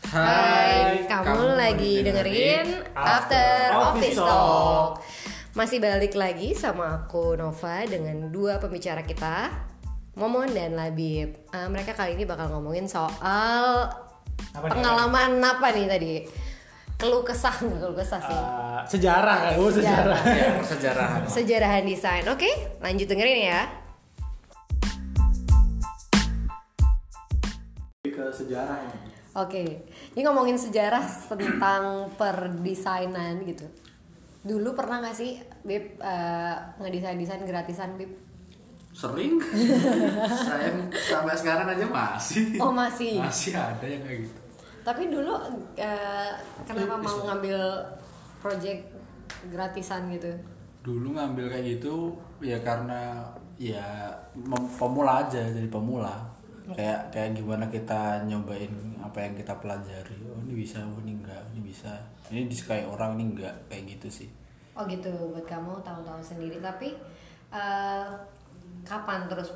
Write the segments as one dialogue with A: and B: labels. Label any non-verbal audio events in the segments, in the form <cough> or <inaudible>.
A: Hai,
B: kamu, lagi dengerin After Office Talk.
A: Masih balik lagi sama aku Nova dengan dua pembicara kita, Momon dan Labib. Eh, mereka kali ini bakal ngomongin soal
B: Apa nih?
A: pengalaman apa nih tadi? Keluh kesah nggak keluh kesah sih?
B: Eh, sejarah kan, oh, sejarah.
C: ya persejarahan
A: Sejarahan desain. Oke, lanjut dengerin ya.
B: Lebih Ke sejarah ya. ini.
A: Oke, ini ngomongin sejarah tentang perdesainan gitu. Dulu pernah nggak sih Bib eh, ngedesain-desain gratisan Bib?
C: sering saya sampai sekarang aja masih
A: Oh, masih.
C: masih ada yang kayak gitu
A: Tapi dulu eh, kenapa mau ngambil project gratisan gitu?
C: dulu ngambil kayak gitu ya karena ya mem- pemula aja jadi pemula kayak kayak gimana kita nyobain apa yang kita pelajari oh ini bisa oh ini enggak ini bisa ini disukai orang ini enggak kayak gitu sih
A: Oh gitu buat kamu tahun-tahun sendiri. Tapi eh, kapan terus?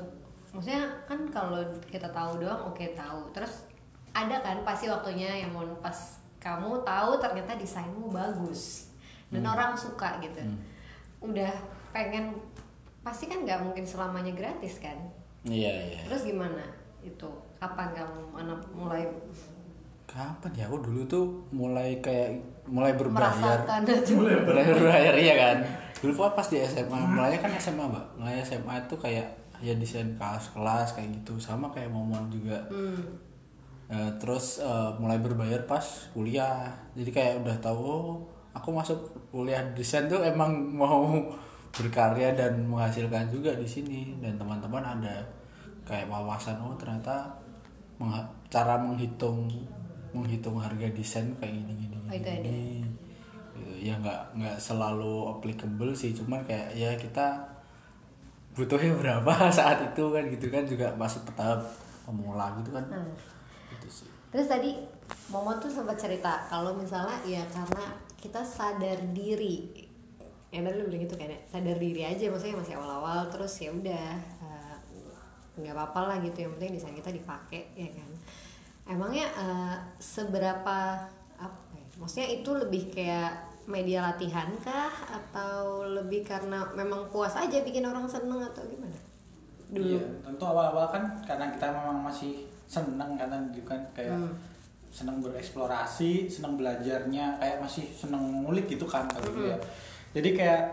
A: Maksudnya kan kalau kita tahu doang oke tahu. Terus ada kan pasti waktunya yang mau pas kamu tahu ternyata desainmu bagus dan orang suka gitu. Udah pengen pasti kan nggak mungkin selamanya gratis kan?
C: iya iya
A: Terus gimana itu? Kapan kamu mana- mulai
C: kapan ya aku dulu tuh mulai kayak mulai berbayar
A: merasakan itu?
C: mulai berbayar ya kan dulu kan pas di SMA mulainya kan SMA mbak mulai SMA itu kayak ya desain kelas-kelas kayak gitu sama kayak momon juga
A: Hmm.
C: Eh, terus eh, mulai berbayar pas kuliah jadi kayak udah tahu oh, aku masuk kuliah desain tuh emang <laughs> mau berkarya dan menghasilkan juga di sini dan teman-teman ada kayak wawasan oh ternyata mengha- cara menghitung menghitung harga desain kayak gini gini,
A: Oh,
C: gini,
A: itu ada.
C: gini gitu. ya nggak nggak selalu applicable sih cuman kayak ya kita butuhnya <laughs> berapa saat itu kan gitu kan juga masih tahap pemula gitu kan Gitu sih.
A: Terus tadi Momon tuh sempat cerita kalau misalnya ya karena kita sadar diri. Ya tadi lu bilang gitu kan ya, sadar diri aja maksudnya masih awal-awal terus ya udah eh, nggak apa-apa lah gitu yang penting desain kita dipakai ya kan. Emangnya eh, seberapa apa ya? Maksudnya itu lebih kayak media latihan kah atau lebih karena memang puas aja bikin orang seneng atau gimana? Dulu.
D: Iya, tentu awal-awal kan karena kita memang masih seneng karena juga kan kayak
A: Hmm.
D: seneng bereksplorasi, seneng belajarnya, kayak masih seneng ngulik gitu kan kalau dulu ya. Jadi kayak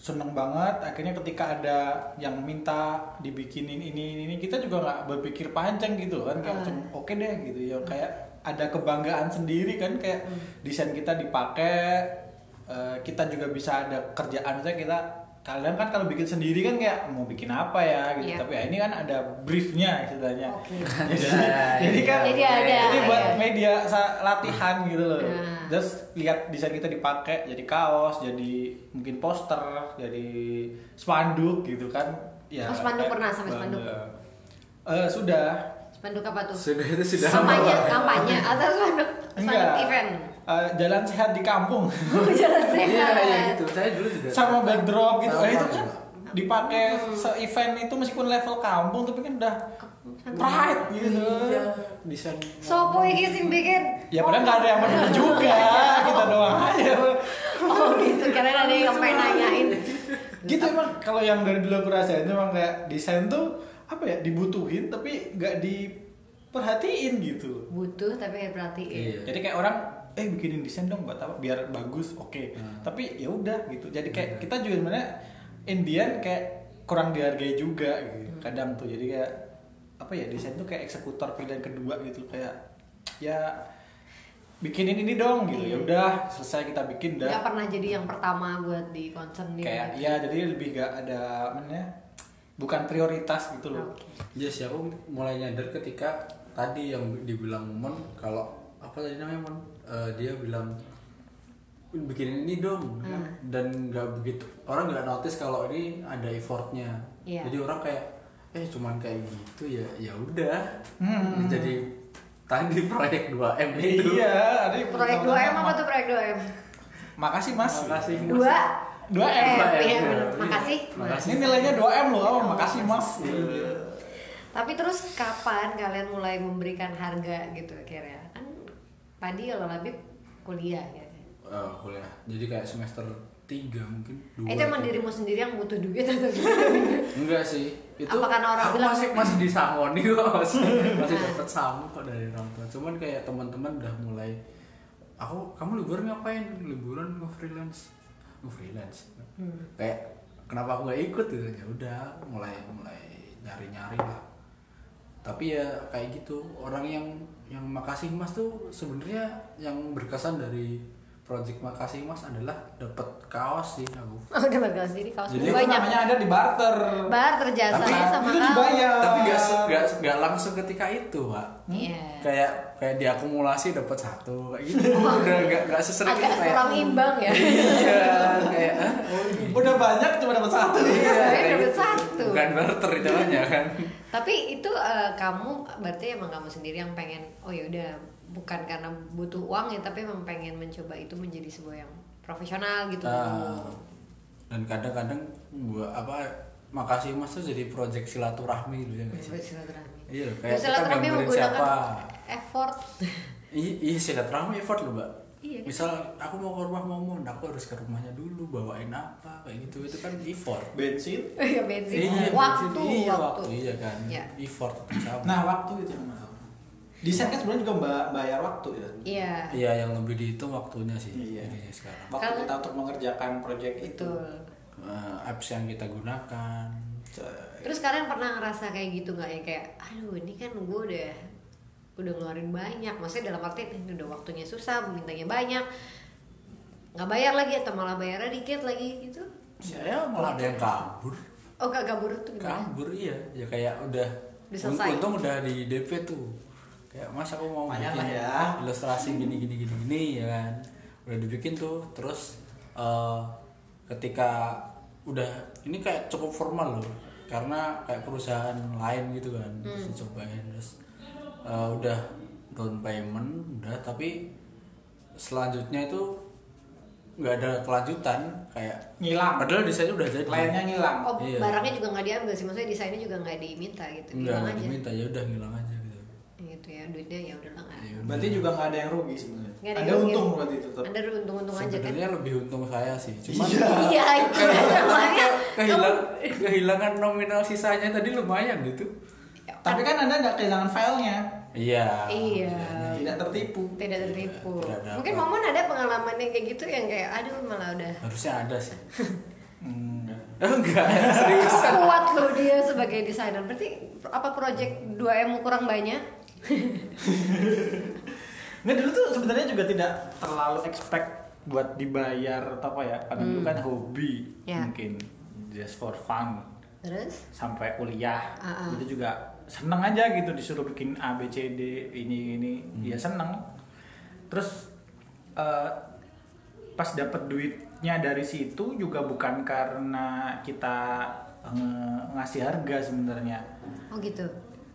D: seneng banget akhirnya ketika ada yang minta dibikinin ini ini, ini kita juga nggak berpikir panjang gitu kan kayak cuma, oke deh gitu ya kayak ada kebanggaan sendiri kan kayak desain kita dipakai eh, kita juga bisa ada kerjaan misalnya kita kalian kan kalau bikin sendiri kan kayak mau bikin apa ya gitu
A: Iya. Oh.
D: tapi ya ini kan ada briefnya istilahnya
A: Oke.
D: <laughs> jadi,
C: Iya,
D: jadi kan
A: Jadi ada,
D: jadi buat
A: iya.
D: media sa- latihan gitu loh
A: Nah.
D: terus lihat desain kita dipakai jadi kaos jadi mungkin poster jadi spanduk gitu kan ya
A: Oh, spanduk
D: kayak
A: pernah sampai spanduk?
D: bangga. eh sudah
A: Spanduk apa tuh?
C: sudah itu sudah
A: kampanye kampanye atau spanduk spanduk event
D: Eh, jalan sehat di kampung
A: jalan sehat
C: iya iya gitu saya dulu juga
D: <laughs> sama backdrop gitu
C: Sama
D: Eh, itu
C: juga.
D: kan dipakai
A: Hmm.
D: se-event itu meskipun level kampung tapi kan udah pride gitu
C: iya desain
A: sopo iki sing bikin
D: ya padahal nggak ada yang peduli
A: <laughs>
D: juga kita doang aja
A: oh gitu karena ada yang pengen nanyain
D: gitu emang kalau yang dari dulu aku rasain emang kayak desain tuh apa ya dibutuhin tapi nggak diperhatiin gitu
A: butuh tapi ya perhatiin
C: Iya.
D: jadi kayak orang eh bikinin desain dong buat apa biar bagus oke tapi ya udah gitu jadi kayak kita juga sebenarnya Indian kayak kurang dihargai juga gitu kadang tuh jadi kayak apa ya desain tuh kayak eksekutor pilihan kedua gitu kayak ya bikinin ini dong gitu ya udah selesai kita bikin dah
A: nggak pernah jadi yang pertama buat di concern dia
D: kayak ya jadi lebih gak ada apa namanya, bukan prioritas gitu loh
A: Oke.
C: Iya sih aku mulai nyadar ketika tadi yang dibilang Mon kalau apa tadi namanya Mon Eh, dia bilang bikin ini dong
A: Hmm.
C: Kan? dan nggak begitu orang nggak notice kalau ini ada effortnya
A: Iya.
C: jadi orang kayak eh cuman kayak gitu ya ya udah jadi tadi proyek 2 m itu
D: <laughs> Hmm. iya ada
A: proyek 2M apa tuh proyek 2M
D: makasih mas
C: makasih
A: 2
D: 2M,
A: M
C: Mbak,
A: iya
C: ya.
A: bener. makasih
C: Makasih.
A: Iya,
D: ini nilainya 2 m loh oh, makasih mas
C: Iya.
A: Tapi terus kapan kalian mulai memberikan harga gitu akhirnya? Kan Padi kalau Labib kuliah ya.
C: Eh, kuliah jadi kayak semester 3 mungkin dua
A: Eh, itu emang
C: tiga.
A: dirimu sendiri yang butuh duit atau gimana? <laughs>
C: enggak sih itu
A: Apa karena orang
C: aku
A: bilang- gitu?
C: masih masih disangoni kok
A: <laughs>
C: masih masih dapat sangu kok dari orang tua cuman kayak teman-teman udah mulai aku kamu liburan ngapain liburan nge freelance nge freelance
A: Hmm.
C: kayak kenapa aku nggak ikut gitu ya udah mulai mulai nyari nyari lah tapi ya kayak gitu orang yang yang makasih mas tuh sebenarnya yang berkesan dari project makasih mas adalah dapat kaos sih aku
A: Oh, udah bakal sendiri kaos
C: Jadi
D: Itu
A: banyak.
D: namanya ada di barter.
A: Bar terjasanya
C: Tapi-
A: sama
D: itu
A: kaos.
D: dibayar.
C: tapi nggak se- nggak nggak langsung ketika itu pak
A: Iya.
C: kayak kayak diakumulasi dapat satu kayak gitu udah nggak nggak sesering
A: Agak
C: itu kayak gitu.
A: kurang imbang ya. <laughs>
C: iya kayak "Hah? oh gitu."
D: Udah banyak cuma dapat satu.
C: iya
A: Sebenarnya
C: kayak
A: dapat
C: gitu.
A: satu.
C: bukan barter jalannya kan
A: Tapi itu eh, kamu berarti emang kamu sendiri yang pengen oh ya udah bukan karena butuh uang ya tapi emang pengen mencoba itu menjadi sebuah yang profesional gitu.
C: Ah, dan kadang-kadang gua apa makasih mas tuh jadi project silaturahmi gitu ya nggak sih?
A: Menurut silaturahmi.
C: Iya, kayak
A: Menurut
C: kita
A: silaturahmi
C: gambarin
A: menggunakan
C: siapa.
A: effort. <laughs>
C: I- iya silaturahmi effort loh mbak
A: Iya, kan?
C: misal aku mau ke rumah momon aku harus ke rumahnya dulu bawain apa kayak gitu itu kan effort
D: Bensin.
A: Iya bensin.
C: Iya,
A: waktu,
C: bensin. Iya,
A: waktu.
C: Iya kan.
A: Iya.
C: Effort tetap sama.
D: Nah, waktu itu yang mahal. Desain kan sebenarnya juga mba- bayar waktu ya.
A: Iya.
C: iya yang lebih dihitung waktunya sih
D: Iya.
C: jadinya sekarang.
D: Waktu
A: Kalau-
D: kita untuk mengerjakan proyek itu.
A: Betul.
C: Eh, apps yang kita gunakan.
D: Coy.
A: Terus kalian pernah ngerasa kayak gitu nggak ya kayak aduh ini kan gue udah udah ngeluarin banyak maksudnya dalam arti ini udah waktunya susah mintanya banyak nggak bayar lagi atau malah bayarnya dikit lagi gitu
C: Saya malah ada yang kabur.
A: oh gak kabur tuh gimana
C: Kabur iya. Ya kayak udah
A: Udah selesai.
C: untung udah di DP tuh. Kayak mas aku mau
D: Lumayan lah ya."
C: ilustrasi gini gini gini gini ya kan. Udah dibikin tuh terus eh, ketika udah ini kayak cukup formal loh karena kayak perusahaan lain gitu kan terus dicobain terus eh, udah down payment udah tapi selanjutnya itu nggak ada kelanjutan kayak
D: Ngilang.
C: padahal desainnya udah jadi
D: Kliennya ngilang.
A: oh
C: Iya.
A: barangnya juga nggak diambil sih maksudnya desainnya juga nggak diminta gitu
C: Enggak,
A: hilang
C: nggak
A: aja
C: diminta ya udah ngilang aja gitu.
A: gitu ya duitnya ya udah lah nggak
C: Ya udah.
D: Berarti juga nggak ada yang rugi sebenarnya.
A: nggak
D: Ada
A: yang
D: untung
A: rugi.
D: berarti itu tetap.
A: ada untung-untung aja kan
C: Sebenarnya lebih untung saya sih, cuman
A: iya itu aja makanya
C: kehilang, kehilangan nominal sisanya tadi lumayan gitu.
D: Tapi kan Anda nggak kehilangan filenya.
C: Iya.
A: Iya.
D: Tidak tertipu.
A: tidak tertipu
C: Tidak ada
A: mungkin
C: apa.
A: momon ada pengalaman yang kayak gitu yang kayak aduh malah udah
C: Harusnya ada sih. <laughs>
D: Enggak.
C: Eh, Enggak, serius.
A: kuat loh dia sebagai desainer berarti apa project 2 mu kurang banyak
D: Nggak dulu tuh sebenarnya juga tidak terlalu expect buat dibayar atau apa ya. Karena dulu kan hobi
A: Hmm. Ya.
D: mungkin just for fun
A: terus
D: sampai kuliah
A: Ah, ah.
D: itu juga seneng aja gitu disuruh bikin A B C D ini ini dia seneng terus eh, pas dapat duitnya dari situ juga bukan karena kita eh, ngasih harga sebenarnya
A: oh gitu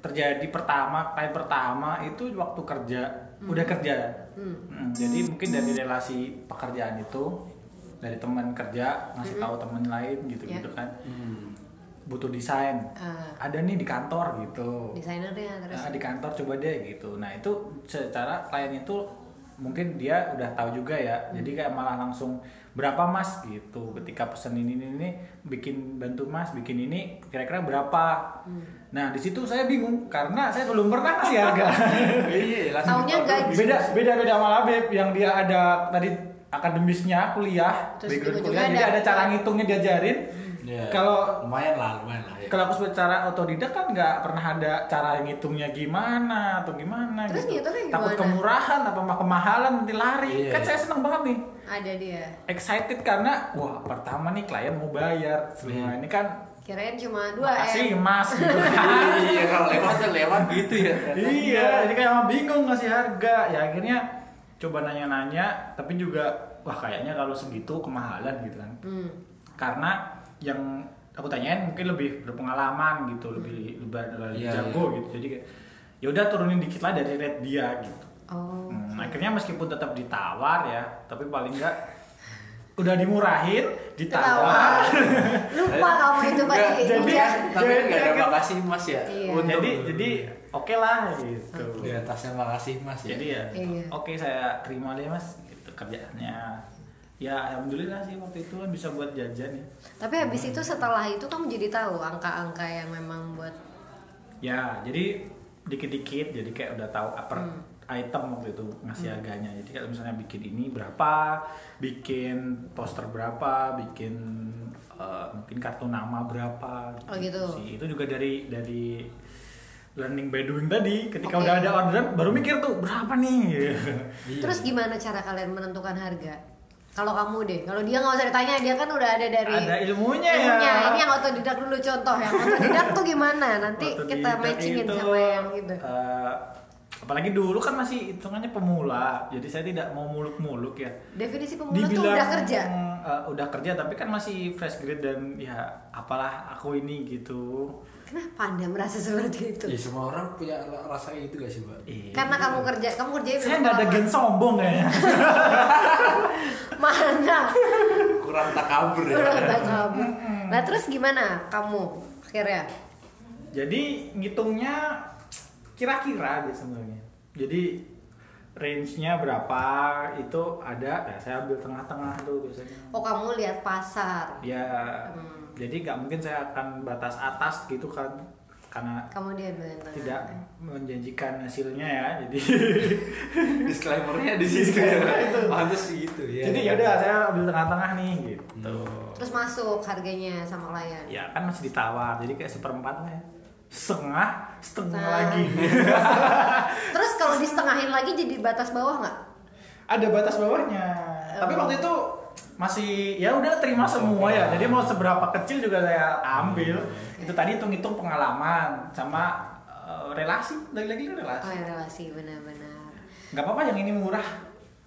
D: terjadi pertama kali pertama itu waktu kerja
A: Hmm.
D: udah kerja Mm, jadi mungkin dari relasi pekerjaan itu dari teman kerja ngasih
A: Hmm.
D: tahu teman lain gitu
A: Ya.
D: gitu kan butuh desain
A: Ah.
D: ada nih di kantor gitu
A: desainernya terus
D: Nah, di kantor coba deh gitu nah itu secara klien itu mungkin dia udah tahu juga ya
A: Hmm.
D: jadi kayak malah langsung berapa mas gitu ketika pesen ini ini, ini bikin bantu mas bikin ini kira-kira berapa
A: Hmm.
D: nah di situ saya bingung karena saya belum pernah ngasih
A: <laughs>
D: harga
C: Iya, langsung
A: Taunya
C: ditolak.
A: gaji.
D: beda beda beda sama Labib yang dia ada tadi akademisnya kuliah
A: Terus
D: background
A: juga
D: kuliah
A: ada.
D: jadi ada cara ngitungnya diajarin
C: Iya.
D: kalau
C: lumayan lah, lumayan lah. ya.
D: kalau aku secara otodidak kan nggak pernah ada cara ngitungnya gimana atau gimana
A: Terus
D: gitu.
A: ngitungnya
D: Takut
A: gimana?
D: kemurahan apa mah kemahalan nanti lari.
C: Iya.
D: Kan saya seneng banget nih.
A: ada dia
D: Excited karena wah pertama nih klien mau bayar. Semua ini kan
A: kirain cuma dua
D: makasih
A: ya
D: mas
A: <laughs>
D: gitu.
C: Iya, kalau lewat ya lewat gitu ya.
D: iya, jadi kayak emang bingung ngasih harga. Ya akhirnya coba nanya-nanya, tapi juga wah kayaknya kalau segitu kemahalan gitu kan.
A: hmm.
D: Karena yang aku tanyain mungkin lebih berpengalaman gitu, lebih lebih, lebih
C: Iya,
D: jago gitu. Jadi kayak ya udah turunin dikit lah dari rate dia gitu.
A: oh
C: Hmm.
D: Hmm, akhirnya meskipun tetap ditawar ya, tapi paling enggak udah dimurahin
A: Ditawar.
D: ditawar <laughs>
A: lupa kamu itu pasti
D: Nggak, jadi-
A: Iya.
C: <laughs> tapi
D: Jadi-
C: nggak ada makasih mas ya
A: Iya.
C: Untung. Iya.
D: jadi jadi oke lah gitu
C: di atasnya makasih mas ya
D: jadi ya
A: Iya.
D: oke saya terima deh mas gitu kerjaannya ya alhamdulillah sih waktu itu kan bisa buat jajan ya
A: tapi habis itu setelah itu kamu jadi tahu angka-angka yang memang buat
D: ya jadi dikit-dikit jadi kayak udah tahu upper
A: Hmm.
D: item waktu itu ngasih harganya jadi kalau misalnya bikin ini berapa bikin poster berapa bikin eh, mungkin kartu nama berapa
A: Oh, gitu.
D: sih. itu juga dari dari learning by doing tadi ketika
A: Oke.
D: udah ada orderan baru mikir tuh berapa nih Iya.
C: Iya.
A: terus gimana cara kalian menentukan harga kalau kamu deh kalau dia nggak usah ditanya dia kan udah ada <laughs> dari
D: Ada ilmunya ya.
A: ini yang otodidak dulu contoh ya. yang otodidak tuh gimana nanti
D: Waktu
A: kita
D: di-
A: matchingin
D: itu,
A: sama yang gitu
D: eh, apalagi dulu kan masih hitungannya pemula jadi saya tidak mau muluk-muluk ya
A: definisi pemula tuh udah kerja
D: eh, udah kerja tapi kan masih fresh grade dan ya apalah aku ini gitu
A: kenapa anda merasa seperti itu
D: Iya.
C: Ya, semua orang punya rasa itu gak sih mbak
D: Ih,
A: karena kamu kerja kamu kerjanya
D: saya
A: belum
D: nggak ada
A: lama.
D: gen sombong kayaknya
A: <laughs>
D: <laughs>
A: mana
C: kurang takabur ya
A: udah tak kamu nah terus gimana kamu akhirnya
D: jadi ngitungnya kira-kira aja sebenarnya jadi range-nya berapa itu ada ya saya ambil tengah-tengah tuh biasanya
A: oh kamu lihat pasar Hmm.
D: ya jadi nggak mungkin saya akan batas atas gitu kan karena
A: kamu dia bilang tengah.
D: tidak menjanjikan hasilnya ya jadi
C: disclaimernya di situ ya pantes gitu ya
D: jadi ya udah saya ambil tengah-tengah nih gitu
A: terus masuk harganya sama klien
D: ya kan masih ditawar jadi kayak seperempat lah ya setengah setengah
A: Nah.
D: lagi
A: <laughs> terus kalau disetengahin lagi jadi batas bawah nggak
D: ada batas bawahnya tapi
A: Oh.
D: waktu itu masih ya udah terima semua ya jadi mau seberapa kecil juga saya ambil itu tadi hitung-hitung pengalaman sama eh, relasi lagi-lagi kan relasi
A: oh iya. ya relasi benar-benar
D: nggak apa-apa yang ini murah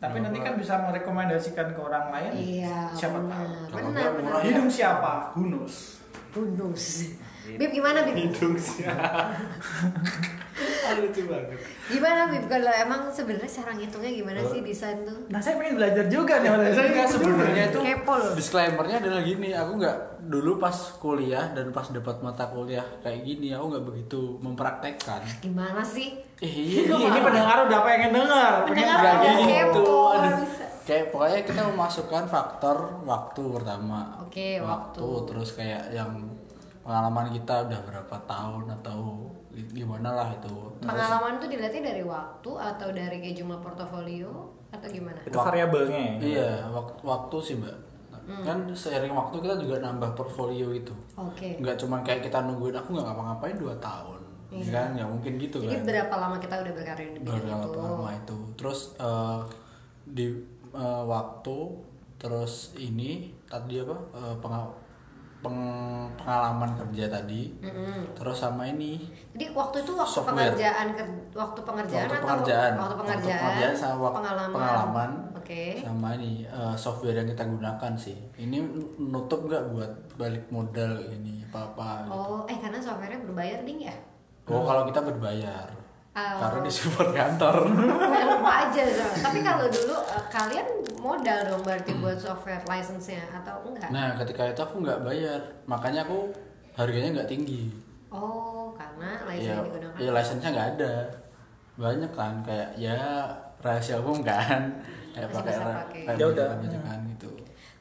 D: tapi nanti kan bisa merekomendasikan ke orang lain
A: iya
D: siapa
A: benar
D: tahu
C: Kalau
A: benar
C: nggak
A: benar
C: murah ya.
D: hidung siapa hunus
A: bonus
D: Iya.
A: Bib gimana Bib?
C: hidung sih <laughs> Ah, lucu banget
A: Gimana Bib kalau emang sebenarnya cara ngitungnya gimana sih desain tuh?
D: nah saya pengen belajar juga nih Mas. Iya, saya
C: Enggak,
D: ikut juga.
C: sebenarnya itu
A: Kepo loh.
C: disclaimernya adalah gini aku nggak dulu pas kuliah dan pas dapat mata kuliah kayak gini aku nggak begitu mempraktekkan
A: Gimana sih?
C: eh, iya
D: ini, ini pendengar udah pengen dengar pengen
A: Pendengar
C: nggak
A: udah
C: gitu
A: kepo,
C: aduh.
A: bisa.
C: kayak pokoknya kita memasukkan faktor waktu pertama
A: Oke, waktu.
C: terus kayak yang pengalaman kita udah berapa tahun atau gimana lah itu terus
A: Pengalaman tuh dilihatnya dari waktu atau dari kayak jumlah portofolio atau gimana?
D: itu variabelnya ya.
C: Iya, waktu, waktu sih mbak. Kan seiring waktu kita juga nambah portfolio itu.
A: Oke.
C: Nggak cuman kayak kita nungguin aku nggak ngapa-ngapain 2 tahun, ya kan? Nggak mungkin gitu
A: Jadi gitu.
C: kan.
A: berapa lama kita udah berkarir di bidang
C: Berapa
A: itu?
C: lama itu? Terus eh, di eh, waktu, terus ini tadi apa? Eh, penga- peng- pengalaman kerja tadi, terus sama ini
A: Jadi waktu itu waktu
C: Software.
A: pengerjaan ker- waktu pengerjaan
C: waktu
A: atau
C: pengerjaan,
A: waktu pengerjaan,
C: sama waktu pengalaman,
A: pengalaman. Oke.
C: sama ini eh, software yang kita gunakan sih. Ini nutup nggak buat balik modal ini apa apa? Gitu.
A: Oh, eh karena softwarenya berbayar ding ya?
C: Oh. kalau kita berbayar,
A: Oh.
C: karena di support kantor.
A: Saya lupa aja soalnya. Tapi kalau dulu eh, kalian modal dong berarti buat software license-nya atau enggak?
C: nah ketika itu aku nggak bayar, makanya aku harganya nggak tinggi.
A: Oh, karena license
C: Ya,
A: yang digunakan.
C: ya license-nya nggak ada. Banyak kan kayak ya rahasia umum kan. Kayak
A: Masih
C: pakai
A: bisa
C: ra-
A: pakai.
C: kayak
D: Ya udah.
C: bajakan-bajakan gitu.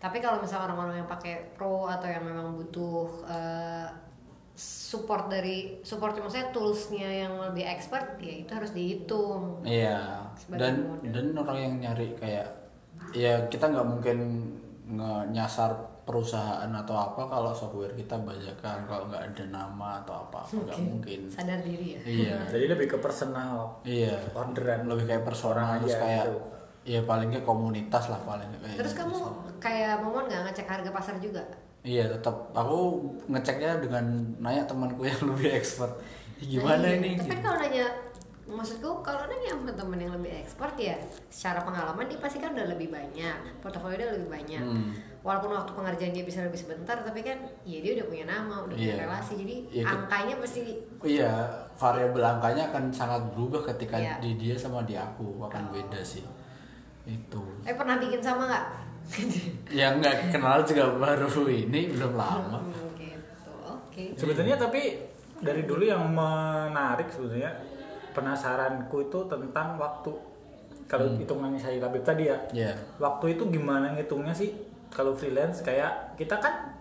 A: Tapi kalau misalnya orang-orang yang pakai pro atau yang memang butuh eh, support dari support maksudnya toolsnya yang lebih expert ya itu harus dihitung
C: Iya.
A: Sebagai
C: Dan
A: model.
C: dan orang yang nyari kayak ya kita nggak mungkin nge- nyasar perusahaan atau apa kalau software kita bajakan kalau nggak ada nama atau apa nggak
A: Oke.
C: mungkin.
A: sadar diri ya
C: Iya.
D: jadi lebih ke personal
C: Iya.
D: Orderan.
C: lebih kayak personal
D: Orang
C: terus
D: aja
C: kayak
D: gitu.
C: ya paling ke komunitas lah paling nggak kayak
A: terus
C: gitu
A: kamu
C: sih.
A: kayak momon nggak ngecek harga pasar juga
C: Iya tetap aku ngeceknya dengan nanya temanku yang <laughs> lebih expert gimana
A: Nah, iya.
C: ini
A: tapi
C: gitu.
A: kalau nanya maksudku kalau nanya sama temen yang lebih expert ya secara pengalaman dia pasti kan udah lebih banyak portofolio udah lebih banyak
C: Hmm.
A: walaupun waktu pengerjaan dia bisa lebih sebentar tapi kan ya dia udah punya nama udah punya
C: Iya.
A: relasi jadi
C: Iya, kita-
A: angkanya pasti
C: Iya, variabel angkanya akan sangat berubah ketika
A: Iya. Oh.
C: di dia sama di aku akan beda sih. Itu.
A: Eh pernah bikin sama nggak
C: yang nggak kenal juga baru ini belum lama
A: Hmm, gitu oke
D: Sebetulnya tapi dari dulu yang menarik sebetulnya penasaranku itu tentang waktu. Kalau hitungannya saya Labib tadi ya.
C: Iya.
D: Waktu itu gimana ngitungnya sih kalau freelance kayak kita kan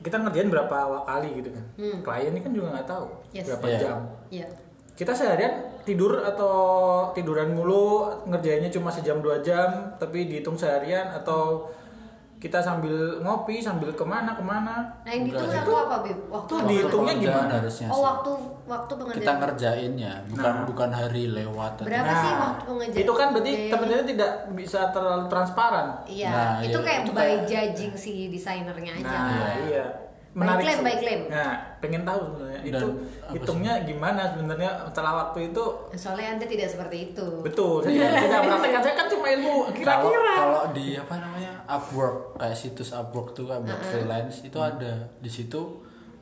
D: kita ngerjain berapa kali gitu kan. Klien ini kan juga nggak tahu
A: Hmm. Yes.
D: berapa
C: Iya.
D: jam.
A: ya
D: Kita seharian tidur atau tiduran mulu ngerjainnya cuma sejam dua jam tapi dihitung seharian atau kita sambil ngopi sambil kemana kemana
A: nah yang dihitung
C: Enggak.
A: waktu apa bib waktu
D: Itu dihitungnya
C: Waktu
D: gimana?
C: pekerjaan harusnya
A: oh
C: sih.
A: waktu waktu
C: kita
A: pengerjaan
C: ngerjainnya bukan
D: Nah.
C: bukan hari lewat atau-
A: Berapa sih waktu pengerjaan?
D: Itu kan berarti
A: Oke.
D: temennya tidak bisa terlalu transparan.
A: Iya,
C: Nah,
A: itu
C: iya,
A: kayak
C: itu
A: by
C: kayak-
A: judging si desainernya aja.
D: Nah,
A: kan?
D: iya.
A: By claim,
D: sih.
A: by claim.
D: Nah, pengen tahu sebenarnya
C: Dan
D: itu
C: apa
D: hitungnya gimana sebenarnya setelah waktu itu
A: Soalnya Anda tidak seperti itu.
D: betul.
A: <laughs>
D: Saya tidak praktekkan saya kan cuma ilmu
C: kalau
D: kira-kira.
C: kalau di apa namanya Upwork kayak situs Upwork tuh kan buat freelance itu ada di situ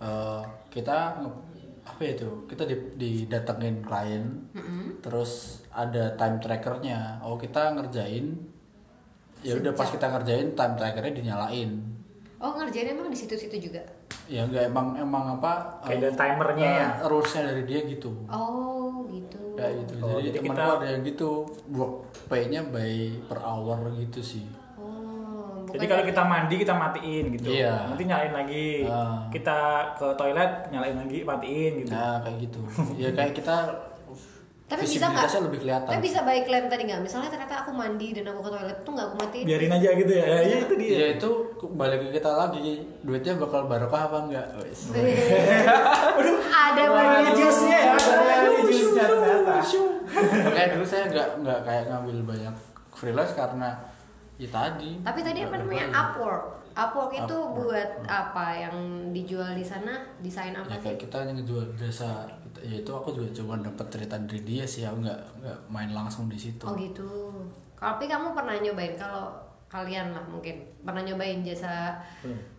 C: eh, kita nge- apa ya itu kita di, didatengin klien terus ada time trackernya oh kita ngerjain ya udah pas kita ngerjain time trackernya dinyalain
A: Oh, ngerjain emang di situ-situ juga.
C: ya nggak emang emang apa
D: Kayak
C: eh,
D: ada timernya ya?
C: eh, rulesnya dari dia gitu
A: Oh, gitu.
C: kayak gitu
D: Oh,
C: jadi,
D: jadi
C: temanku
D: kita-
C: ada yang gitu work pay-nya by per hour gitu sih
A: Oh, bukan
D: Jadi kalau
A: dari-
D: kita mandi kita matiin gitu.
C: Iya.
D: Nanti nyalain lagi.
C: Ah.
D: Kita ke toilet nyalain lagi matiin gitu.
C: Nah kayak
A: <laughs>
C: gitu. ya kayak kita
A: Iya. tapi bisa nggak?
C: visibilitasnya lebih kelihatan.
A: Tapi bisa by claim tadi nggak? Misalnya ternyata aku mandi dan aku ke toilet tuh nggak aku matiin. <laughs>
D: Biarin aja gitu ya. Ya, iya, itu dia.
C: Ya itu balik ke kita lagi duitnya bakal barokah apa Oh, enggak? Wes.
A: Iya.
C: <laughs>
A: ada warna
D: jusnya ya, ada
A: Waduh,
D: jusnya ternyata.
C: Makanya dulu saya nggak nggak kayak ngambil banyak freelance karena ya tadi.
A: Tapi tadi apa namanya? Upwork. Upwork itu buat apa yang dijual di sana? Desain
C: Ya
A: apa sih?
C: kayak kita hanya ngejual jasa. Ya itu aku juga cuma dapat cerita dari dia sih, aku nggak nggak main langsung di situ.
A: Oh gitu. Tapi kamu pernah nyobain kalau kalian lah mungkin pernah nyobain jasa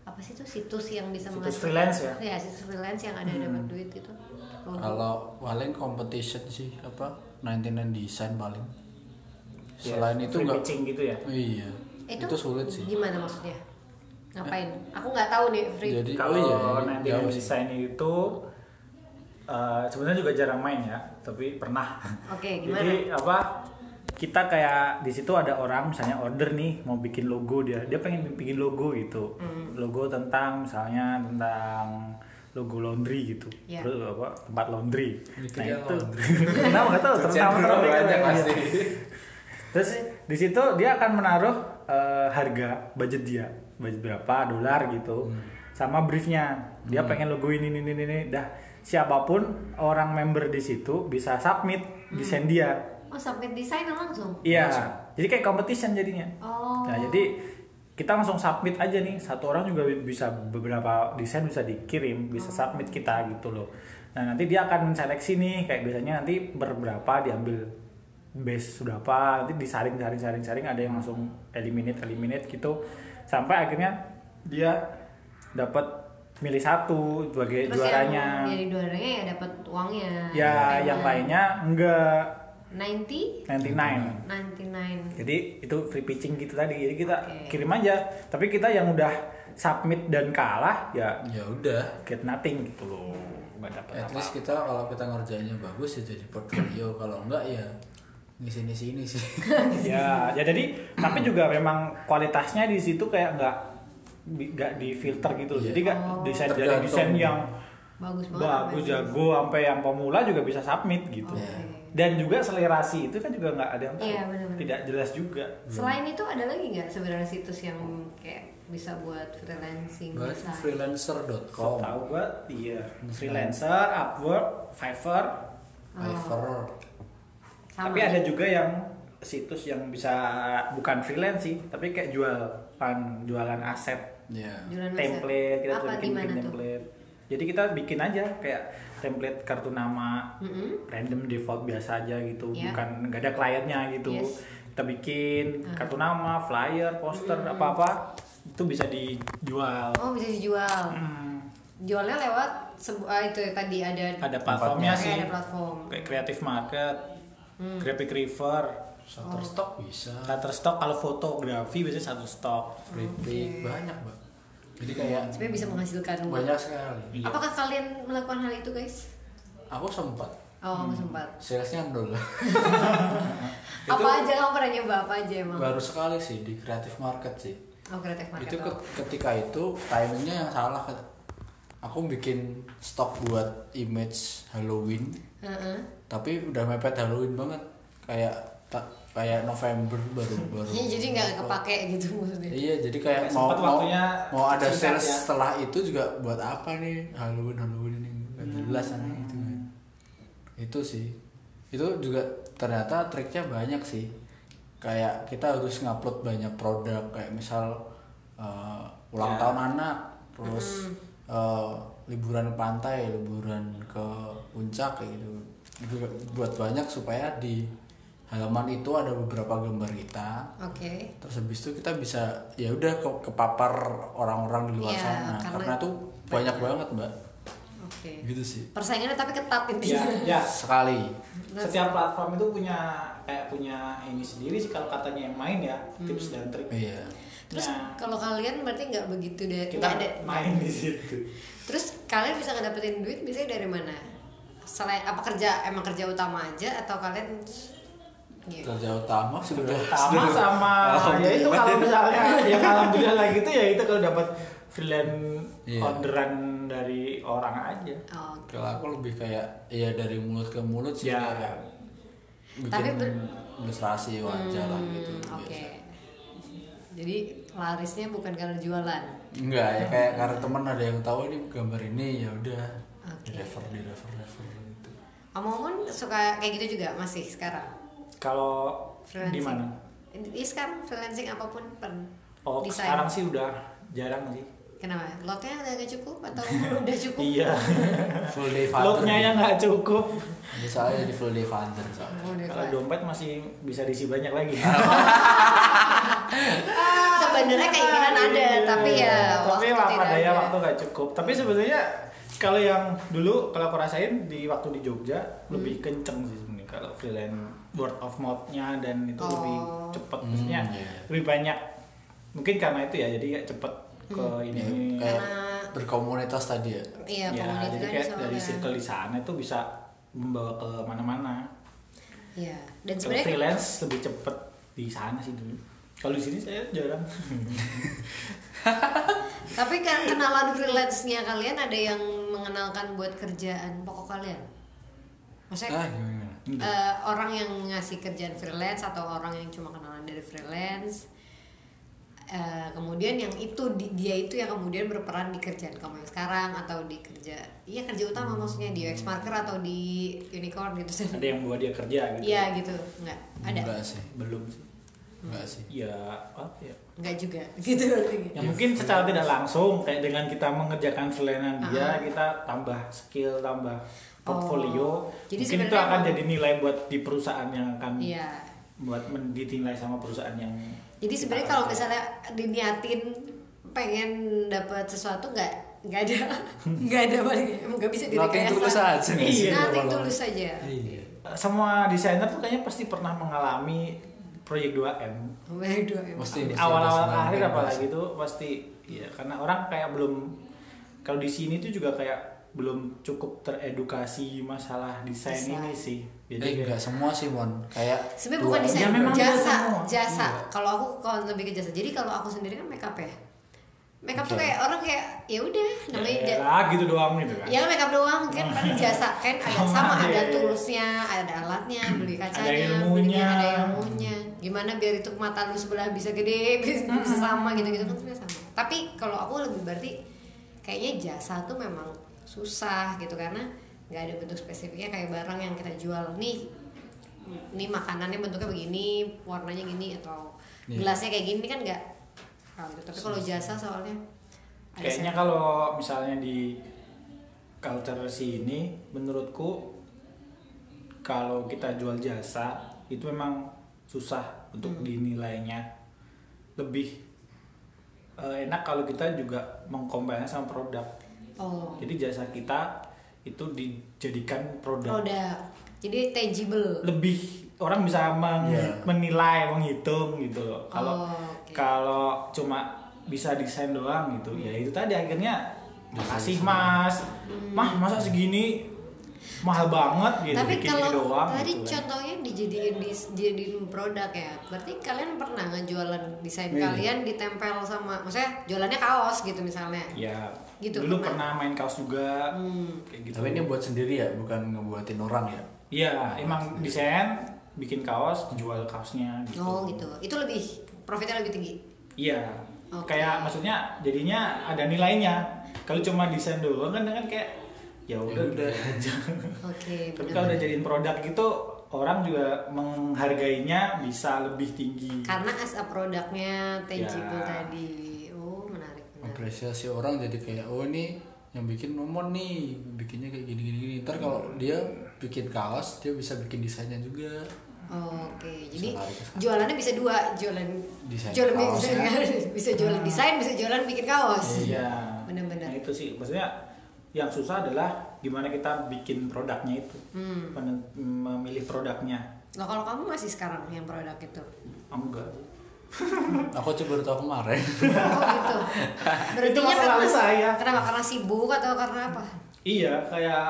A: apa sih itu situs yang bisa
D: Situs
A: menghasilkan-
D: freelance ya?
A: Iya, situs freelance yang ada dapat
D: Hmm.
A: duit itu. Oh.
C: Kalau paling competition sih apa 99 design paling.
A: Iya.
D: Ya,
C: Selain itu
D: free
C: nggak.
D: pitching gitu ya.
C: Iya.
A: itu,
C: itu sulit sih.
A: Gimana maksudnya? Ngapain? Aku nggak tahu nih free.
C: Jadi
D: Kalau
C: oh iya,
D: nanti
C: jauh sih.
D: desain itu eh, sebenarnya juga jarang main ya, tapi pernah. <laughs>
A: Oke, gimana?
D: Jadi apa? Kita kayak di situ ada orang misalnya order nih mau bikin logo dia, dia pengen bikin logo gitu.
A: Hmm.
D: Logo tentang misalnya tentang logo laundry gitu.
A: Iya.
D: Terus apa? Tempat laundry. Nah,
C: Mikirnya
D: itu.
C: laundry.
D: <laughs> Kenapa enggak tahu tentang
C: Kerjaan
D: laundry.
C: orang banyak
D: Iya.
C: pasti.
D: <laughs> Terus di situ dia akan menaruh eh, harga budget dia, budget berapa dolar gitu,
C: Hmm.
D: sama briefnya. Dia pengen logo ini ini ini ini. Dah siapapun orang member di situ bisa submit
A: Hmm.
D: desain dia.
A: Oh, sampai desain langsung.
D: Iya. Jadi kayak competition jadinya.
A: Oh.
D: Nah jadi kita langsung submit aja nih satu orang juga bisa beberapa desain bisa dikirim
A: Oh.
D: bisa submit kita gitu loh nah nanti dia akan menseleksi nih kayak biasanya nanti berberapa diambil base sudah apa nanti disaring saring saring saring ada yang langsung eliminate eliminate gitu sampai akhirnya dia dapat milih satu sebagai
A: Terus
D: juaranya
A: yang jadi juaranya ya dapat uangnya.
D: ya yang lainnya enggak
A: 90
D: 99
A: 99.
D: jadi itu free pitching gitu tadi. Jadi kita
A: Oke.
D: kirim aja. Tapi kita yang udah submit dan kalah ya
C: Ya udah.
D: get nothing gitu loh. Gak dapet
C: At
D: apa.
C: least kita kalau kita ngerjainnya bagus ya jadi portfolio. kalau enggak ya ngisi ngisi ini sih.
D: ya, ya jadi tapi juga memang kualitasnya di situ kayak nggak bi- nggak di filter gitu loh.
C: Iya.
D: Jadi nggak desain
C: Tergantung.
D: desain yang
A: Bagus banget.
D: bagus
A: namanya.
D: jago sampai yang pemula juga bisa submit gitu.
A: Oke.
D: Dan juga selerasi itu kan juga nggak ada yang tahu.
A: Iya, benar-benar.
D: Tidak jelas juga.
A: Selain
D: Hmm.
A: itu ada lagi nggak sebenarnya situs yang kayak bisa buat freelancing
C: Buat
A: bisa?
C: freelancer.com,
D: Tahu gua iya freelancer, Upwork, Fiverr,
C: Fiverr.
A: Sama.
D: Tapi ada juga yang situs yang bisa bukan freelance sih, tapi kayak jualan jualan aset,
C: Ya.
A: Jualan aset.
D: template kita
A: Apa
D: tuh bikin,
A: gimana
D: bikin
A: tuh?
D: template. Jadi kita bikin aja kayak template kartu nama
A: Mm-mm.
D: random default biasa aja gitu,
A: Iya.
D: bukan nggak ada kliennya gitu.
A: Yes. Ah.
D: Kita bikin kartu nama, flyer, poster,
A: Hmm.
D: apa-apa itu bisa dijual.
A: Oh bisa dijual.
D: Hmm,
A: Jualnya lewat sebu- ah, itu ya, tadi ada
D: ada platformnya
A: Kayak
D: sih.
A: ada platform. Hmm.
D: Kayak Creative Market, Creative River,
C: Shutterstock bisa,
D: Shutterstock kalau fotografi biasanya Shutterstock.
C: Flipik banyak, Mbak. Jadi kayak
A: Sebenarnya bisa menghasilkan uang.
C: banyak sekali.
D: Iya.
A: Apakah kalian melakukan hal itu guys?
C: Aku sempat Hmm.
A: Oh sempat.
C: salesnya nol.
A: Apa aja kamu pernah nyoba apa aja emang?
C: Baru sekali sih di kreatif market sih.
A: Oh kreatif market.
C: itu
A: oh.
C: ke- ketika itu timingnya yang salah aku bikin stok buat image Halloween
A: Heeh.
C: tapi udah mepet Halloween banget kayak ta- kayak November baru baru
A: Ya, jadi nggak kepake gitu maksudnya.
C: iya jadi kayak
D: Kayak
C: mau
D: sempet
C: mau,
D: waktunya
C: mau ada
D: singkat
C: sales
D: ya.
C: setelah itu juga buat apa nih Halloween Halloween ini nggak
D: Hmm.
C: jelas aneh gitu kan. itu sih itu juga ternyata triknya banyak sih kayak kita harus ngupload banyak produk kayak misal eh, ulang
D: Ya. Hmm.
C: tahun anak terus eh, liburan ke pantai liburan ke puncak kayak gitu Itu buat banyak supaya di halaman itu ada beberapa gambar kita
A: Oke.
C: terus habis itu kita bisa ya udah ke kepapar orang-orang di luar
A: Iya,
C: sana
A: karena- Iya.
C: karena, tuh banyak banget mbak
A: Oke.
C: gitu sih
A: Persaingannya tapi ketat gitu.
D: Ya,
C: Iya,
A: intinya.
D: ya.
C: sekali
A: Nah.
D: Setiap platform itu punya kayak punya ini sendiri sih kalau katanya yang main ya tips dan trik.
C: iya
A: Terus
D: Nah,
A: kalau kalian berarti nggak begitu dari
D: kita
A: nggak ada.
D: main di situ.
A: Terus kalian bisa ngedapetin duit biasanya dari mana? Selain apa kerja emang kerja utama aja atau kalian gitu?
C: kerja utama sudah
D: Sama sama ya itu kalau
A: <laughs>
D: misalnya yang alhamdulillah lah gitu ya itu kalau dapat freelance
C: Iya.
D: orderan dari orang aja.
A: Oh,
C: kalau aku lebih kayak ya dari mulut ke mulut sih
D: Ya.
C: kayak bikin
A: Tapi ber-
C: ilustrasi wajah lah
A: Hmm,
C: gitu
A: Oke.
C: biasa
A: Jadi larisnya bukan karena jualan.
C: enggak ya kayak karena teman ada yang tahu ini gambar ini ya udah
A: Oke.
C: di refer di refer refer gitu
A: Omong-omong suka kayak gitu juga masih sekarang.
D: Kalau di
A: Freelancing.
D: mana?
A: Iya sekarang freelancing apapun pen.
D: Oh,
A: Desain.
D: sekarang sih udah jarang sih.
A: Kenapa? Lotnya udah nggak cukup
D: <laughs>
A: atau udah cukup?
D: Iya.
C: full day father
D: Lotnya yang nggak cukup.
C: Ini soalnya jadi full day father soalnya
A: Oh, udah
D: Kalau
A: kelar.
D: dompet masih bisa diisi banyak lagi.
A: Sebenarnya keinginan ada, tapi ya
D: Iya, tapi
A: waktu
D: apa
A: tidak
D: daya
A: ada.
D: waktu nggak cukup. Tapi sebenarnya kalau yang dulu kalau aku rasain di waktu di Jogja
A: Hmm.
D: lebih kenceng sih sebenarnya kalau freelance word of mouth-nya dan itu
A: Oh.
D: lebih cepet
C: Hmm,
D: maksudnya
C: iya.
D: lebih banyak. Mungkin karena itu ya jadi ya cepet ke ini.
C: Ya, kayak
A: Hmm. Karena-
C: berkomunitas tadi ya
A: Iya,
D: ya,
A: komunitas
D: jadi
A: kan
D: kayak
A: soalnya.
D: dari circle di sana itu bisa membawa ke mana-mana.
A: Iya. Dan
D: Kalau
A: sebenarnya
D: freelance lebih cepet di sana sih dulu. Kalau di sini saya
A: <laughs>
D: jarang.
A: tapi kan kenalan freelance-nya kalian ada yang mengenalkan buat kerjaan pokok kalian. Maksudnya
C: ah gimana
A: Eh, orang yang ngasih kerjaan freelance atau orang yang cuma kenalan dari freelance Eh, kemudian yang itu di- dia itu yang kemudian berperan di kerjaan kamu yang sekarang atau di kerja iya kerja utama
C: Hmm.
A: maksudnya di UX marker atau di unicorn gitu sih
D: Ada yang buat dia kerja gitu.
A: iya gitu nggak ada
C: enggak sih
D: Belum sih.
C: enggak sih
D: Ya apa ya?
A: nggak juga <laughs> gitu
D: Ya, mungkin secara tidak langsung kayak dengan kita mengerjakan freelance dia
A: Iya.
D: kita tambah skill, tambah
A: Oh.
D: portfolio.
A: Jadi
D: mungkin itu
A: sebenarnya
D: akan
A: emang-
D: jadi nilai buat di perusahaan yang akan
A: iya
D: buat men- ditinilai sama perusahaan yang
A: jadi
D: kita
A: sebenarnya kalau
D: kerja.
A: misalnya diniatin pengen dapat sesuatu nggak nggak ada <laughs> nggak ada paling nggak bisa
C: Nothing
A: direkayasa
C: tulus aja nggak sih?
A: Iya, nothing
C: Kalau-
A: tulus aja
C: iya
D: Eh, semua desainer tuh kayaknya pasti pernah mengalami proyek 2M
A: Waduh, emang.
C: Mesti- mesti
D: Di awal-awal
C: ada
D: karir
C: senang,
D: apalagi itu pasti ya karena orang kayak belum kalau di sini tuh juga kayak belum cukup teredukasi masalah desain
A: Desain.
D: ini sih.
C: Eh,
D: Jadi
C: enggak
D: kayak-
C: semua sih mon kayak
A: Sebenarnya
C: dua
A: bukan
C: M.
A: desain,
D: Ya, memang
A: jasa,
D: dia Iya. semua.
A: jasa. Kalau aku kalau lebih ke jasa. Jadi kalau aku sendiri kan makeup ya. Makeup tuh
C: Oke.
A: kayak orang kayak ya udah namanya
D: ya,
A: ja-
D: elah, gitu doang gitu kan.
A: ya makeup doang kan paling jasa kan
D: <laughs>
A: ada
D: Sama
A: sama
D: aja,
A: ada
D: iya.
A: tulusnya, ada alatnya, beli kacanya,
D: ilmunya.
A: belinya, ada ilmunya. Gimana biar itu mata lu sebelah bisa gede, <laughs> bisa, bisa sama gitu-gitu kan sebenarnya sama. Tapi kalau aku lebih berarti kayaknya jasa tuh memang susah gitu karena nggak ada bentuk spesifiknya kayak barang yang kita jual nih ini makanannya bentuknya begini, warnanya gini atau
C: Iya.
A: gelasnya kayak gini kan nggak. Kalau gitu. Tapi kalau jasa soalnya ada
D: Kayaknya
A: saya-
D: kalau misalnya di culture sini menurutku kalau kita jual jasa itu memang susah
A: Hmm.
D: untuk dinilainya. Lebih eh, enak kalau kita juga mengkombinasikan sama produk.
A: oh
D: Jadi jasa kita itu dijadikan produk
A: produk. Oh, Jadi tangible.
D: lebih orang bisa meng-
C: Iya.
D: menilai menghitung gitu loh
A: Oh,
D: kalau
A: oke.
D: kalau cuma bisa desain doang gitu
A: Hmm.
D: ya itu tadi akhirnya makasih mas mah masa segini mahal banget gitu
A: Tapi
D: bikin ini
A: kalau
D: doang
A: tadi
D: gitu kan.
A: contohnya dijadiin dis- dijadiin produk ya. Berarti kalian pernah ngejualan desain
D: Iya.
A: kalian ditempel sama maksudnya jualannya kaos gitu misalnya. Hmm.
D: ya
A: Gitu,
D: dulu
A: pernah.
D: pernah main kaos juga kayak gitu
C: Tapi ini buat sendiri ya, bukan ngebuatin orang ya.
D: Iya, emang desain bikin kaos dijual kaosnya gitu.
A: Oh gitu. Itu lebih profitnya lebih tinggi.
D: Iya.
A: Oke.
D: Kayak maksudnya jadinya ada nilainya. Kalau cuma desain doang kan kan kayak ya udah
C: Ya udah.
D: gitu aja.
A: Oke.
D: Tapi
A: bener.
D: kalau udah jadiin produk gitu orang juga menghargainya bisa lebih tinggi.
A: Karena as a produknya tangible
D: Ya.
A: tadi. Oh menarik. menarik.
C: Apresiasi orang jadi kayak oh ini yang bikin momon nih, bikinnya kayak gini gini gini. Ntar kalau dia bikin kaos, dia bisa bikin desainnya juga.
A: Oke, jadi
C: lari ke sana.
A: jualannya bisa dua, jualan
C: Desain
A: jualan
C: kaos,
A: desain,
C: ya.
A: <laughs> bisa jualan desain, bisa jualan bikin kaos.
D: Iya.
A: Benar-benar.
D: Nah, itu sih maksudnya yang susah adalah gimana kita bikin produknya itu.
A: Hmm.
D: Pen- memilih produknya.
A: Nah, kalau kamu masih sekarang yang produk
C: <laughs>
A: itu.
D: Oh, enggak.
C: Aku coba baru tahu kemarin.
A: Oh gitu.
D: Itu
A: Berhentinya
D: masalah
A: karena
D: saya.
A: Kenapa? Karena sibuk atau karena apa?
D: Iya, kayak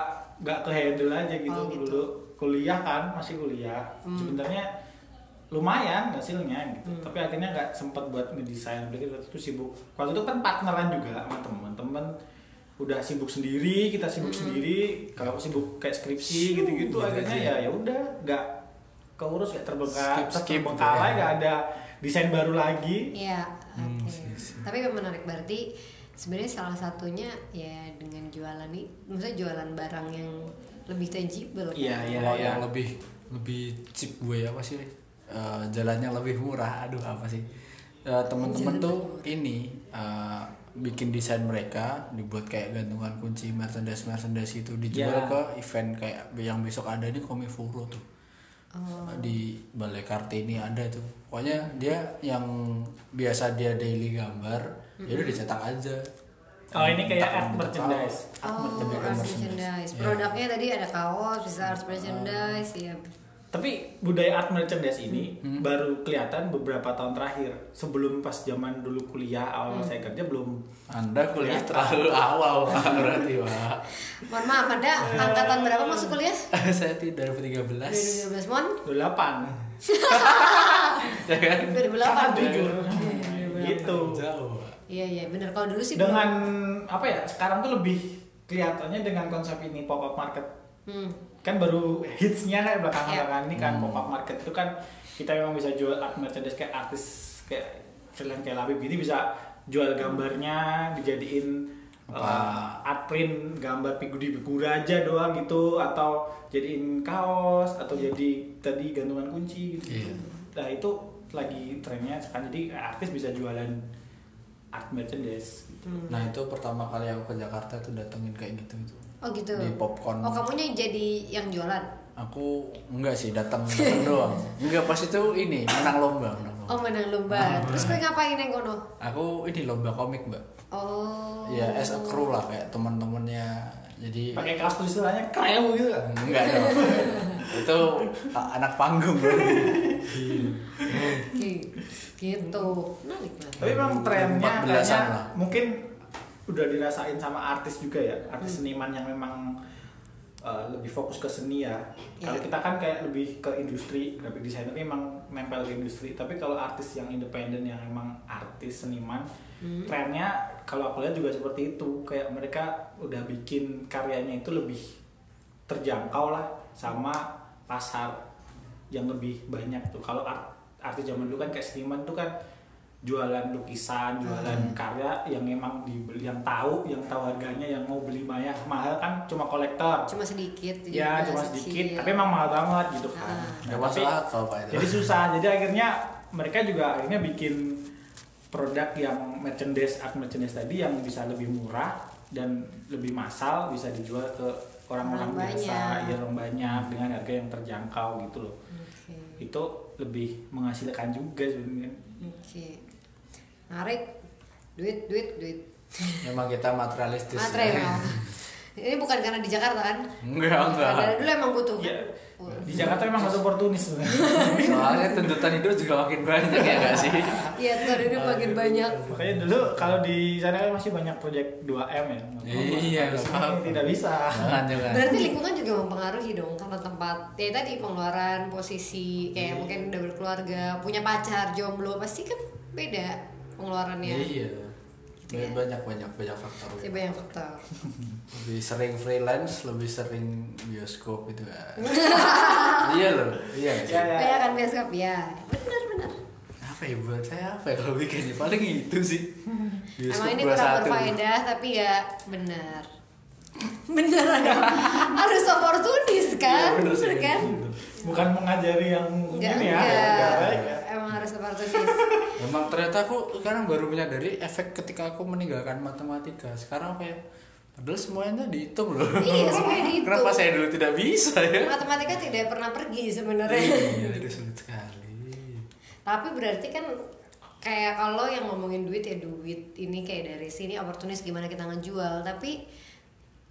D: nggak ke handle aja gitu,
A: Oh, gitu.
D: dulu kuliah kan masih kuliah. Sebenarnya lumayan hasilnya gitu, tapi akhirnya nggak sempat buat ngedesain. Apalagi waktu itu sibuk. Waktu itu kan partneran juga sama teman-teman. Udah sibuk sendiri, kita sibuk sendiri. Kalau sibuk kayak skripsi gitu-gitu,
C: gitu
D: akhirnya
C: aja.
D: ya ya udah nggak keurus nggak terbengkalai,
C: Skip, skip gitu
D: terbengkalai
C: ya.
D: nggak ada desain baru lagi.
A: Iya.
C: Hmm,
A: oke.
C: sih, sih.
A: Tapi memang menarik berarti sebenarnya salah satunya ya dengan jualan nih, maksudnya jualan barang yang lebih tangible. kan?
D: Iya, iya,
C: Kalau
D: iya.
C: yang lebih lebih cheap gue apa sih? Eh, jalannya lebih murah. Aduh apa sih? Eh, temen-temen
A: Jalan
C: tuh ini eh, bikin desain mereka dibuat kayak gantungan kunci merchandise merchandise itu dijual
D: Ya.
C: ke event kayak yang besok ada di Komifuro tuh
A: Oh.
C: di Balai Kartini ada tuh pokoknya dia yang biasa dia daily gambar ya udah dicetak aja
D: Oh ini kayak
C: Entah
D: art
C: bentuk
D: merchandise.
C: kaos.
A: Oh,
C: Lebih ke
A: art
C: merchandise.
A: merchandise.
C: Iya. Oh.
A: Produknya tadi ada kaos, bisa art merchandise, ya.
D: Tapi budaya art merchandise ini baru kelihatan beberapa tahun terakhir. Sebelum pas zaman dulu kuliah awal saya kerja belum.
C: Anda kuliah terlalu awal Pak, berarti Pak. <laughs>
A: Mohon maaf, ada
C: Iya.
A: angkatan berapa masuk kuliah?
C: Saya tidak 2013.
A: 2012, Mon?
D: 28.
C: Ya kan?
A: 2008.
D: jujur. gitu.
C: Jauh. Pak.
A: Iya, iya, bener. Kalau dulu sih
D: Dengan apa ya? Sekarang tuh lebih kelihatannya dengan konsep ini pop up market.
A: Hmm.
D: Kan baru hitsnya kan belakangan-belakangan ini
C: Iya.
D: kan pop up market itu kan kita memang bisa jual art merchandise kayak artis kayak freelance kayak Labib ini bisa jual gambarnya dijadiin
C: Apa?
D: uh, art print gambar figu di figur aja doang gitu atau jadiin kaos atau jadi tadi gantungan kunci gitu.
C: Iya.
D: Nah itu lagi trennya sekarang jadi artis bisa jualan art merchandise. gitu.
C: Nah, itu pertama kali aku ke Jakarta tuh datengin kayak gitu itu.
A: Oh gitu.
C: Di popcorn.
A: Oh kamunya jadi yang jualan.
C: Aku enggak sih datang datang doang. Enggak pas itu ini menang lomba, menang lomba.
A: Oh menang lomba. Terus kue ngapain yang kono?
C: Aku ini lomba komik, Mbak.
A: Oh.
C: Ya, as a crew lah kayak teman-temannya. Jadi
D: Pakai kaos tulisannya kreu gitu. kan.
C: <laughs> enggak dong. itu a- anak panggung.
A: Oke. Gitu. Menarik banget.
D: Tapi memang trennya
C: 14-an
D: kayaknya
C: lah.
D: mungkin udah dirasain sama artis juga ya, artis seniman yang memang uh, lebih fokus ke seni ya. Kalau
A: Iya.
D: kita kan kayak lebih ke industri, graphic designer ini memang nempel ke industri. Tapi kalau artis yang independen yang emang artis seniman, trennya kalau aku lihat juga seperti itu. Kayak mereka udah bikin karyanya itu lebih terjangkau lah sama pasar yang lebih banyak tuh kalau art artis zaman dulu kan kayak seniman tuh kan jualan lukisan jualan
A: Hmm.
D: karya yang emang dibeli yang tahu yang tahu harganya yang mau beli maya mahal kan cuma kolektor
A: Cuma sedikit.
D: ya
A: juga,
D: cuma sedikit
A: kecil.
D: tapi emang mahal banget gitu kan
A: Ah.
D: Nah,
C: Enggak
D: tapi-
C: masalah kalau Pak itu.
D: jadi susah jadi akhirnya mereka juga akhirnya bikin produk yang merchandise art merchandise tadi yang bisa lebih murah dan lebih massal bisa dijual ke orang-orang
A: Orang
D: biasa
A: banyak.
D: ya orang banyak dengan harga yang terjangkau gitu loh
A: Oke.
D: itu lebih menghasilkan juga sebenarnya
A: Oke. Menarik. Duit, duit, duit.
C: Memang kita materialistis. ya.
A: Material. Ini bukan karena di Jakarta kan?
C: Enggak, enggak.
A: Karena dulu emang butuh. Oh,
D: Iya. Di Jakarta memang harus oportunis
A: <laughs>
D: sebenarnya.
C: Soalnya tuntutan hidup juga makin banyak ya gak sih?
A: Iya, tuh ada dulu makin banyak.
D: Makanya dulu kalau di sana kan masih banyak proyek 2M ya.
C: Iya,
D: Di sini
C: apa-apa.
D: tidak bisa.
C: Jangan, jangan.
A: Berarti lingkungan juga mempengaruhi dong karena tempat ya tadi pengeluaran, posisi
C: Iya.
A: kayak mungkin udah berkeluarga, punya pacar, jomblo pasti kan beda pengeluarannya.
C: Iya.
A: Gitu ya.
C: Banyak banyak banyak banyak faktor. ya.
A: Jadi banyak faktor.
C: Lebih sering freelance, lebih sering bioskop gitu
A: <laughs>
C: kan. iya loh, iya. nggak sih?
D: Ya, ya.
A: Banyak kan bioskop ya. Benar benar.
C: Apa ya buat saya apa ya kalau weekend paling itu sih.
A: Hmm. Emang ini
C: 21.
A: kurang berfaedah tapi ya
D: <laughs>
A: benar. Bener kan? Harus oportunis
C: Iya,
A: kan?
C: bener sih.
A: bener kan?
D: Bukan mengajari yang
A: Enggak,
D: ini ya.
A: enggak.
D: nggak baik ya.
A: Emang harus oportunis.
C: Emang ternyata aku sekarang baru menyadari efek ketika aku meninggalkan matematika. Sekarang kayak padahal semuanya dihitung loh.
A: Iya, semuanya dihitung.
C: Kenapa saya dulu tidak bisa ya?
A: Matematika tidak pernah pergi sebenarnya.
C: Iya, itu sulit sekali.
A: Tapi berarti kan kayak kalau yang ngomongin duit ya duit ini kayak dari sini oportunis gimana kita ngejual tapi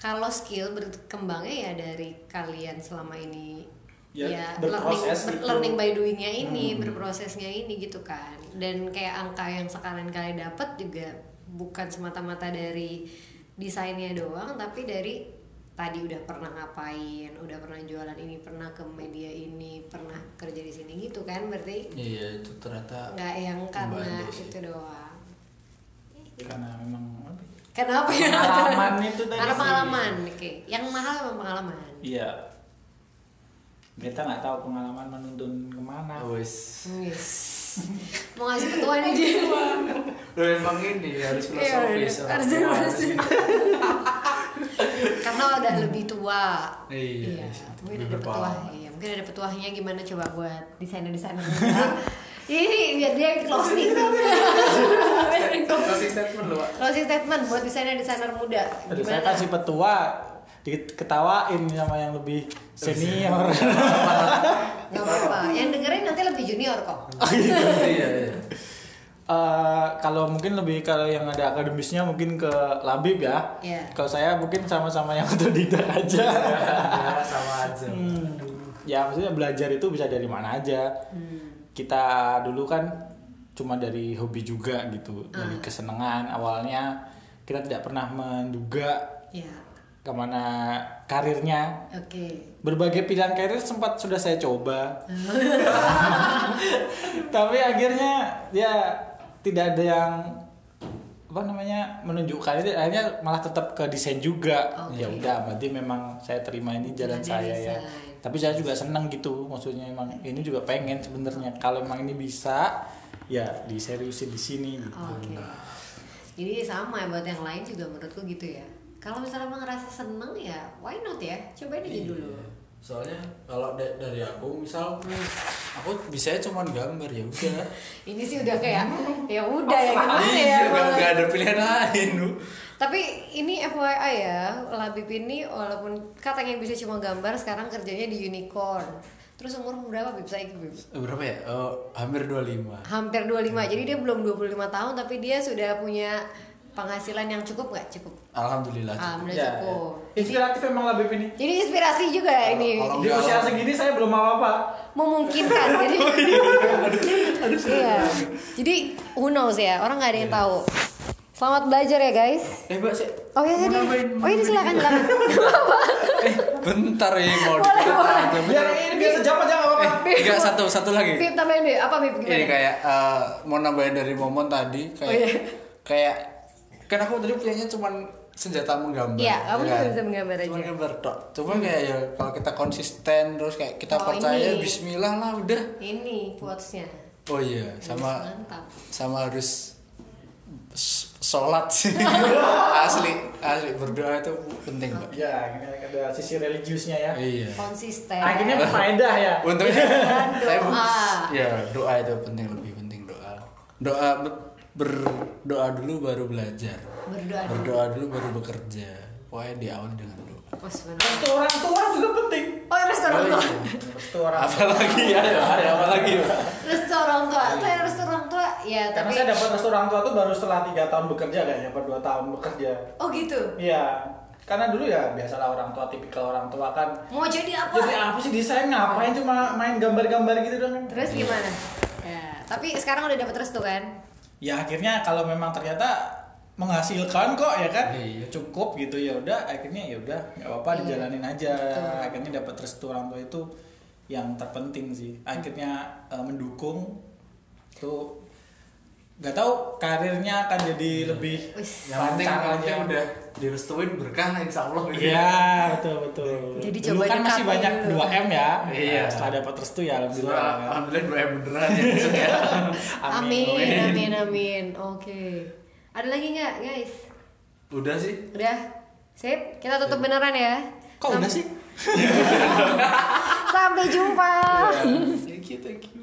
A: kalau skill berkembangnya ya dari kalian selama ini
D: Ya,
A: learning,
D: berproses
A: ber-
D: gitu. Hmm.
A: learning by doingnya ini berprosesnya ini gitu kan dan kayak angka yang sekalian kali dapat juga bukan semata-mata dari desainnya doang tapi dari tadi udah pernah ngapain udah pernah jualan ini pernah ke media ini pernah kerja di sini gitu kan berarti
C: Iya, itu ternyata
A: nggak yang karena
C: membantu sih.
A: itu doang
D: Karena memang apa ya?
A: kenapa ya
D: Pengalaman itu tadi
A: karena
D: sih.
A: pengalaman oke yang mahal memang pengalaman
D: Iya. Beta nggak tahu pengalaman menuntun kemana.
C: Oh. Wes.
A: yes. mau ngasih ketua ini dia
C: Lo emang ini Iya, harus filosofis.
A: Iya,
C: orang
A: harus
C: tua
A: filosofis.
C: harus ini.
A: karena udah lebih tua
C: Iya,
A: mungkin
C: lebih
A: ada petuah
C: berpengalaman.
A: iya mungkin ada petuahnya gimana coba buat desainer desainer ini biar dia yang
C: <laughs>
A: closing
C: Closing statement lo. Wak.
A: closing statement buat desainer desainer muda
D: Terus saya
A: gimana
D: kan kasih petua diketawain sama yang lebih senior.
A: nggak apa-apa yang dengerin nanti lebih junior kok
C: Iya, iya.
D: Eh, kalau mungkin lebih kalau yang ada akademisnya mungkin ke labib ya.
A: Iya.
D: Kalau saya mungkin sama-sama yang <laughs> otodidak aja.
C: Ya, sama aja.
A: Hmm.
D: ya maksudnya belajar itu bisa dari mana aja.
A: Hmm,
D: Kita dulu kan cuma dari hobi juga gitu,
A: Ah.
D: dari kesenangan awalnya kita tidak pernah menduga
A: ya
D: kemana karirnya
A: oke
C: <laughs>
D: Berbagai pilihan karir sempat sudah saya coba. Tapi akhirnya ya tidak ada yang apa namanya menunjukkan itu akhirnya malah tetap ke desain juga.
A: Oke.
D: Ya udah berarti memang saya terima ini jalan
A: Jadi
D: saya ya.
A: desain.
D: Tapi saya juga senang gitu maksudnya emang ini juga pengen sebenarnya kalau emang ini bisa ya diseriusin di sini gitu.
A: Oke. Jadi sama ya buat yang lain juga menurutku gitu ya. Kalau misalnya emang ngerasa seneng ya, why not ya? Cobain aja dulu.
C: Iya. Soalnya kalau da- dari aku misal aku bisanya cuman gambar ya udah.
A: Ini sih udah <laughs> kayak ya udah ya gimana ya.
C: Iya, nggak-
A: Bang?
C: nggak ada pilihan lain lu.
A: Tapi ini FYI ya, Labib ini walaupun katanya bisa cuma gambar, sekarang kerjanya di unicorn. Terus umur berapa Bib saya Bib?
C: Eh, Berapa ya? Eh, hampir 25.
A: Hampir 25. Jadi dia belum 25 tahun tapi dia sudah punya penghasilan yang cukup nggak? Cukup.
C: Alhamdulillah. Ah, cukup.
A: Alhamdulillah
D: Ya,
A: cukup.
D: Inspiratif emang lebih ini.
A: Jadi inspirasi juga ya ini.
C: kalau- Oh,
D: Di usia segini saya belum apa-apa.
C: <laughs>
A: memungkinkan jadi
C: iya,
A: iya jadi who knows ya orang nggak ada
C: Iya.
A: yang tahu selamat belajar ya guys
C: Eh, Mbak, sih.
A: oh ya tadi oh ini silakan silakan
C: <laughs> Eh, bentar ya mau
A: Boleh,
C: ditutup.
D: Biar ini biar sejam aja nggak apa-apa.
C: Eh, enggak satu satu lagi.
A: Bib tambahin deh apa Bib
C: Ini
A: gimana
C: kayak eh, mau nambahin dari momon tadi kayak
A: Oh, iya.
C: kayak kan aku tadi punyanya cuman senjata menggambar.
A: Iya, kamu
C: ya kan?
A: cuma bisa menggambar
C: Cuman
A: aja. Hmm.
C: gambar tok. Cuma kayak ya kalau kita konsisten terus kayak kita
A: Oh,
C: percaya
A: ini.
C: bismillah lah udah.
A: ini quotesnya
C: Oh iya, sama
A: mantap.
C: sama harus s- sholat sih asli asli berdoa itu penting mbak
D: Ya, ada sisi religiusnya ya.
C: iya
A: konsisten
D: Akhirnya berfaedah ya.
C: Untungnya saya bu-
A: Doa.
C: Ya doa itu penting lebih penting doa. Doa be- berdoa dulu baru belajar.
A: Berdoa dulu.
C: Berdoa dulu baru bekerja. Pokoknya diawali dengan doa.
A: oh sebenarnya
D: Restu orang tua juga penting.
A: oh restoran tua
D: Restu orang tua.
C: Apalagi <laughs> ya, ada apa lagi?
A: restoran tua saya restoran tua Oh, iya. ya
D: Karena
A: tapi
D: saya dapat restu orang tua tuh baru setelah tiga tahun bekerja kayaknya, per dua tahun bekerja.
A: oh gitu
D: Iya. karena dulu ya biasalah orang tua tipikal orang tua kan
A: Mau jadi apa?
D: jadi "Ah, apa sih desain ngapain cuma main gambar-gambar gitu dong
A: Terus gimana? Iya. Ya, tapi sekarang udah dapet restu kan?
D: ya akhirnya kalau memang ternyata menghasilkan kok ya kan
C: Iya.
D: cukup gitu ya udah akhirnya ya udah nggak apa-apa
A: Iya.
D: dijalanin aja akhirnya dapat restu orang tua itu yang terpenting sih akhirnya eh, mendukung tuh nggak tahu karirnya akan jadi
C: Iya.
D: lebih
A: Wis.
C: Yang penting
D: lancar
C: nanti
D: aja.
C: udah direstuin berkah lah insya Allah. gitu.
D: Iya, betul betul.
A: Jadi
D: Dulu
A: coba
D: kan masih
A: dekatin
D: banyak
A: dulu.
D: 2 M ya.
C: Iya.
D: Nah, setelah dapat restu ya alhamdulillah.
C: Setelah alhamdulillah dua M beneran ya.
D: <laughs>
C: maksudnya.
A: Amin, amin, amin. Oke. Ada lagi nggak, guys?
C: Udah sih.
A: Udah. Sip, kita tutup beneran ya.
D: Kok udah sih?
A: Sampai jumpa. Iya.
C: Thank you, thank you.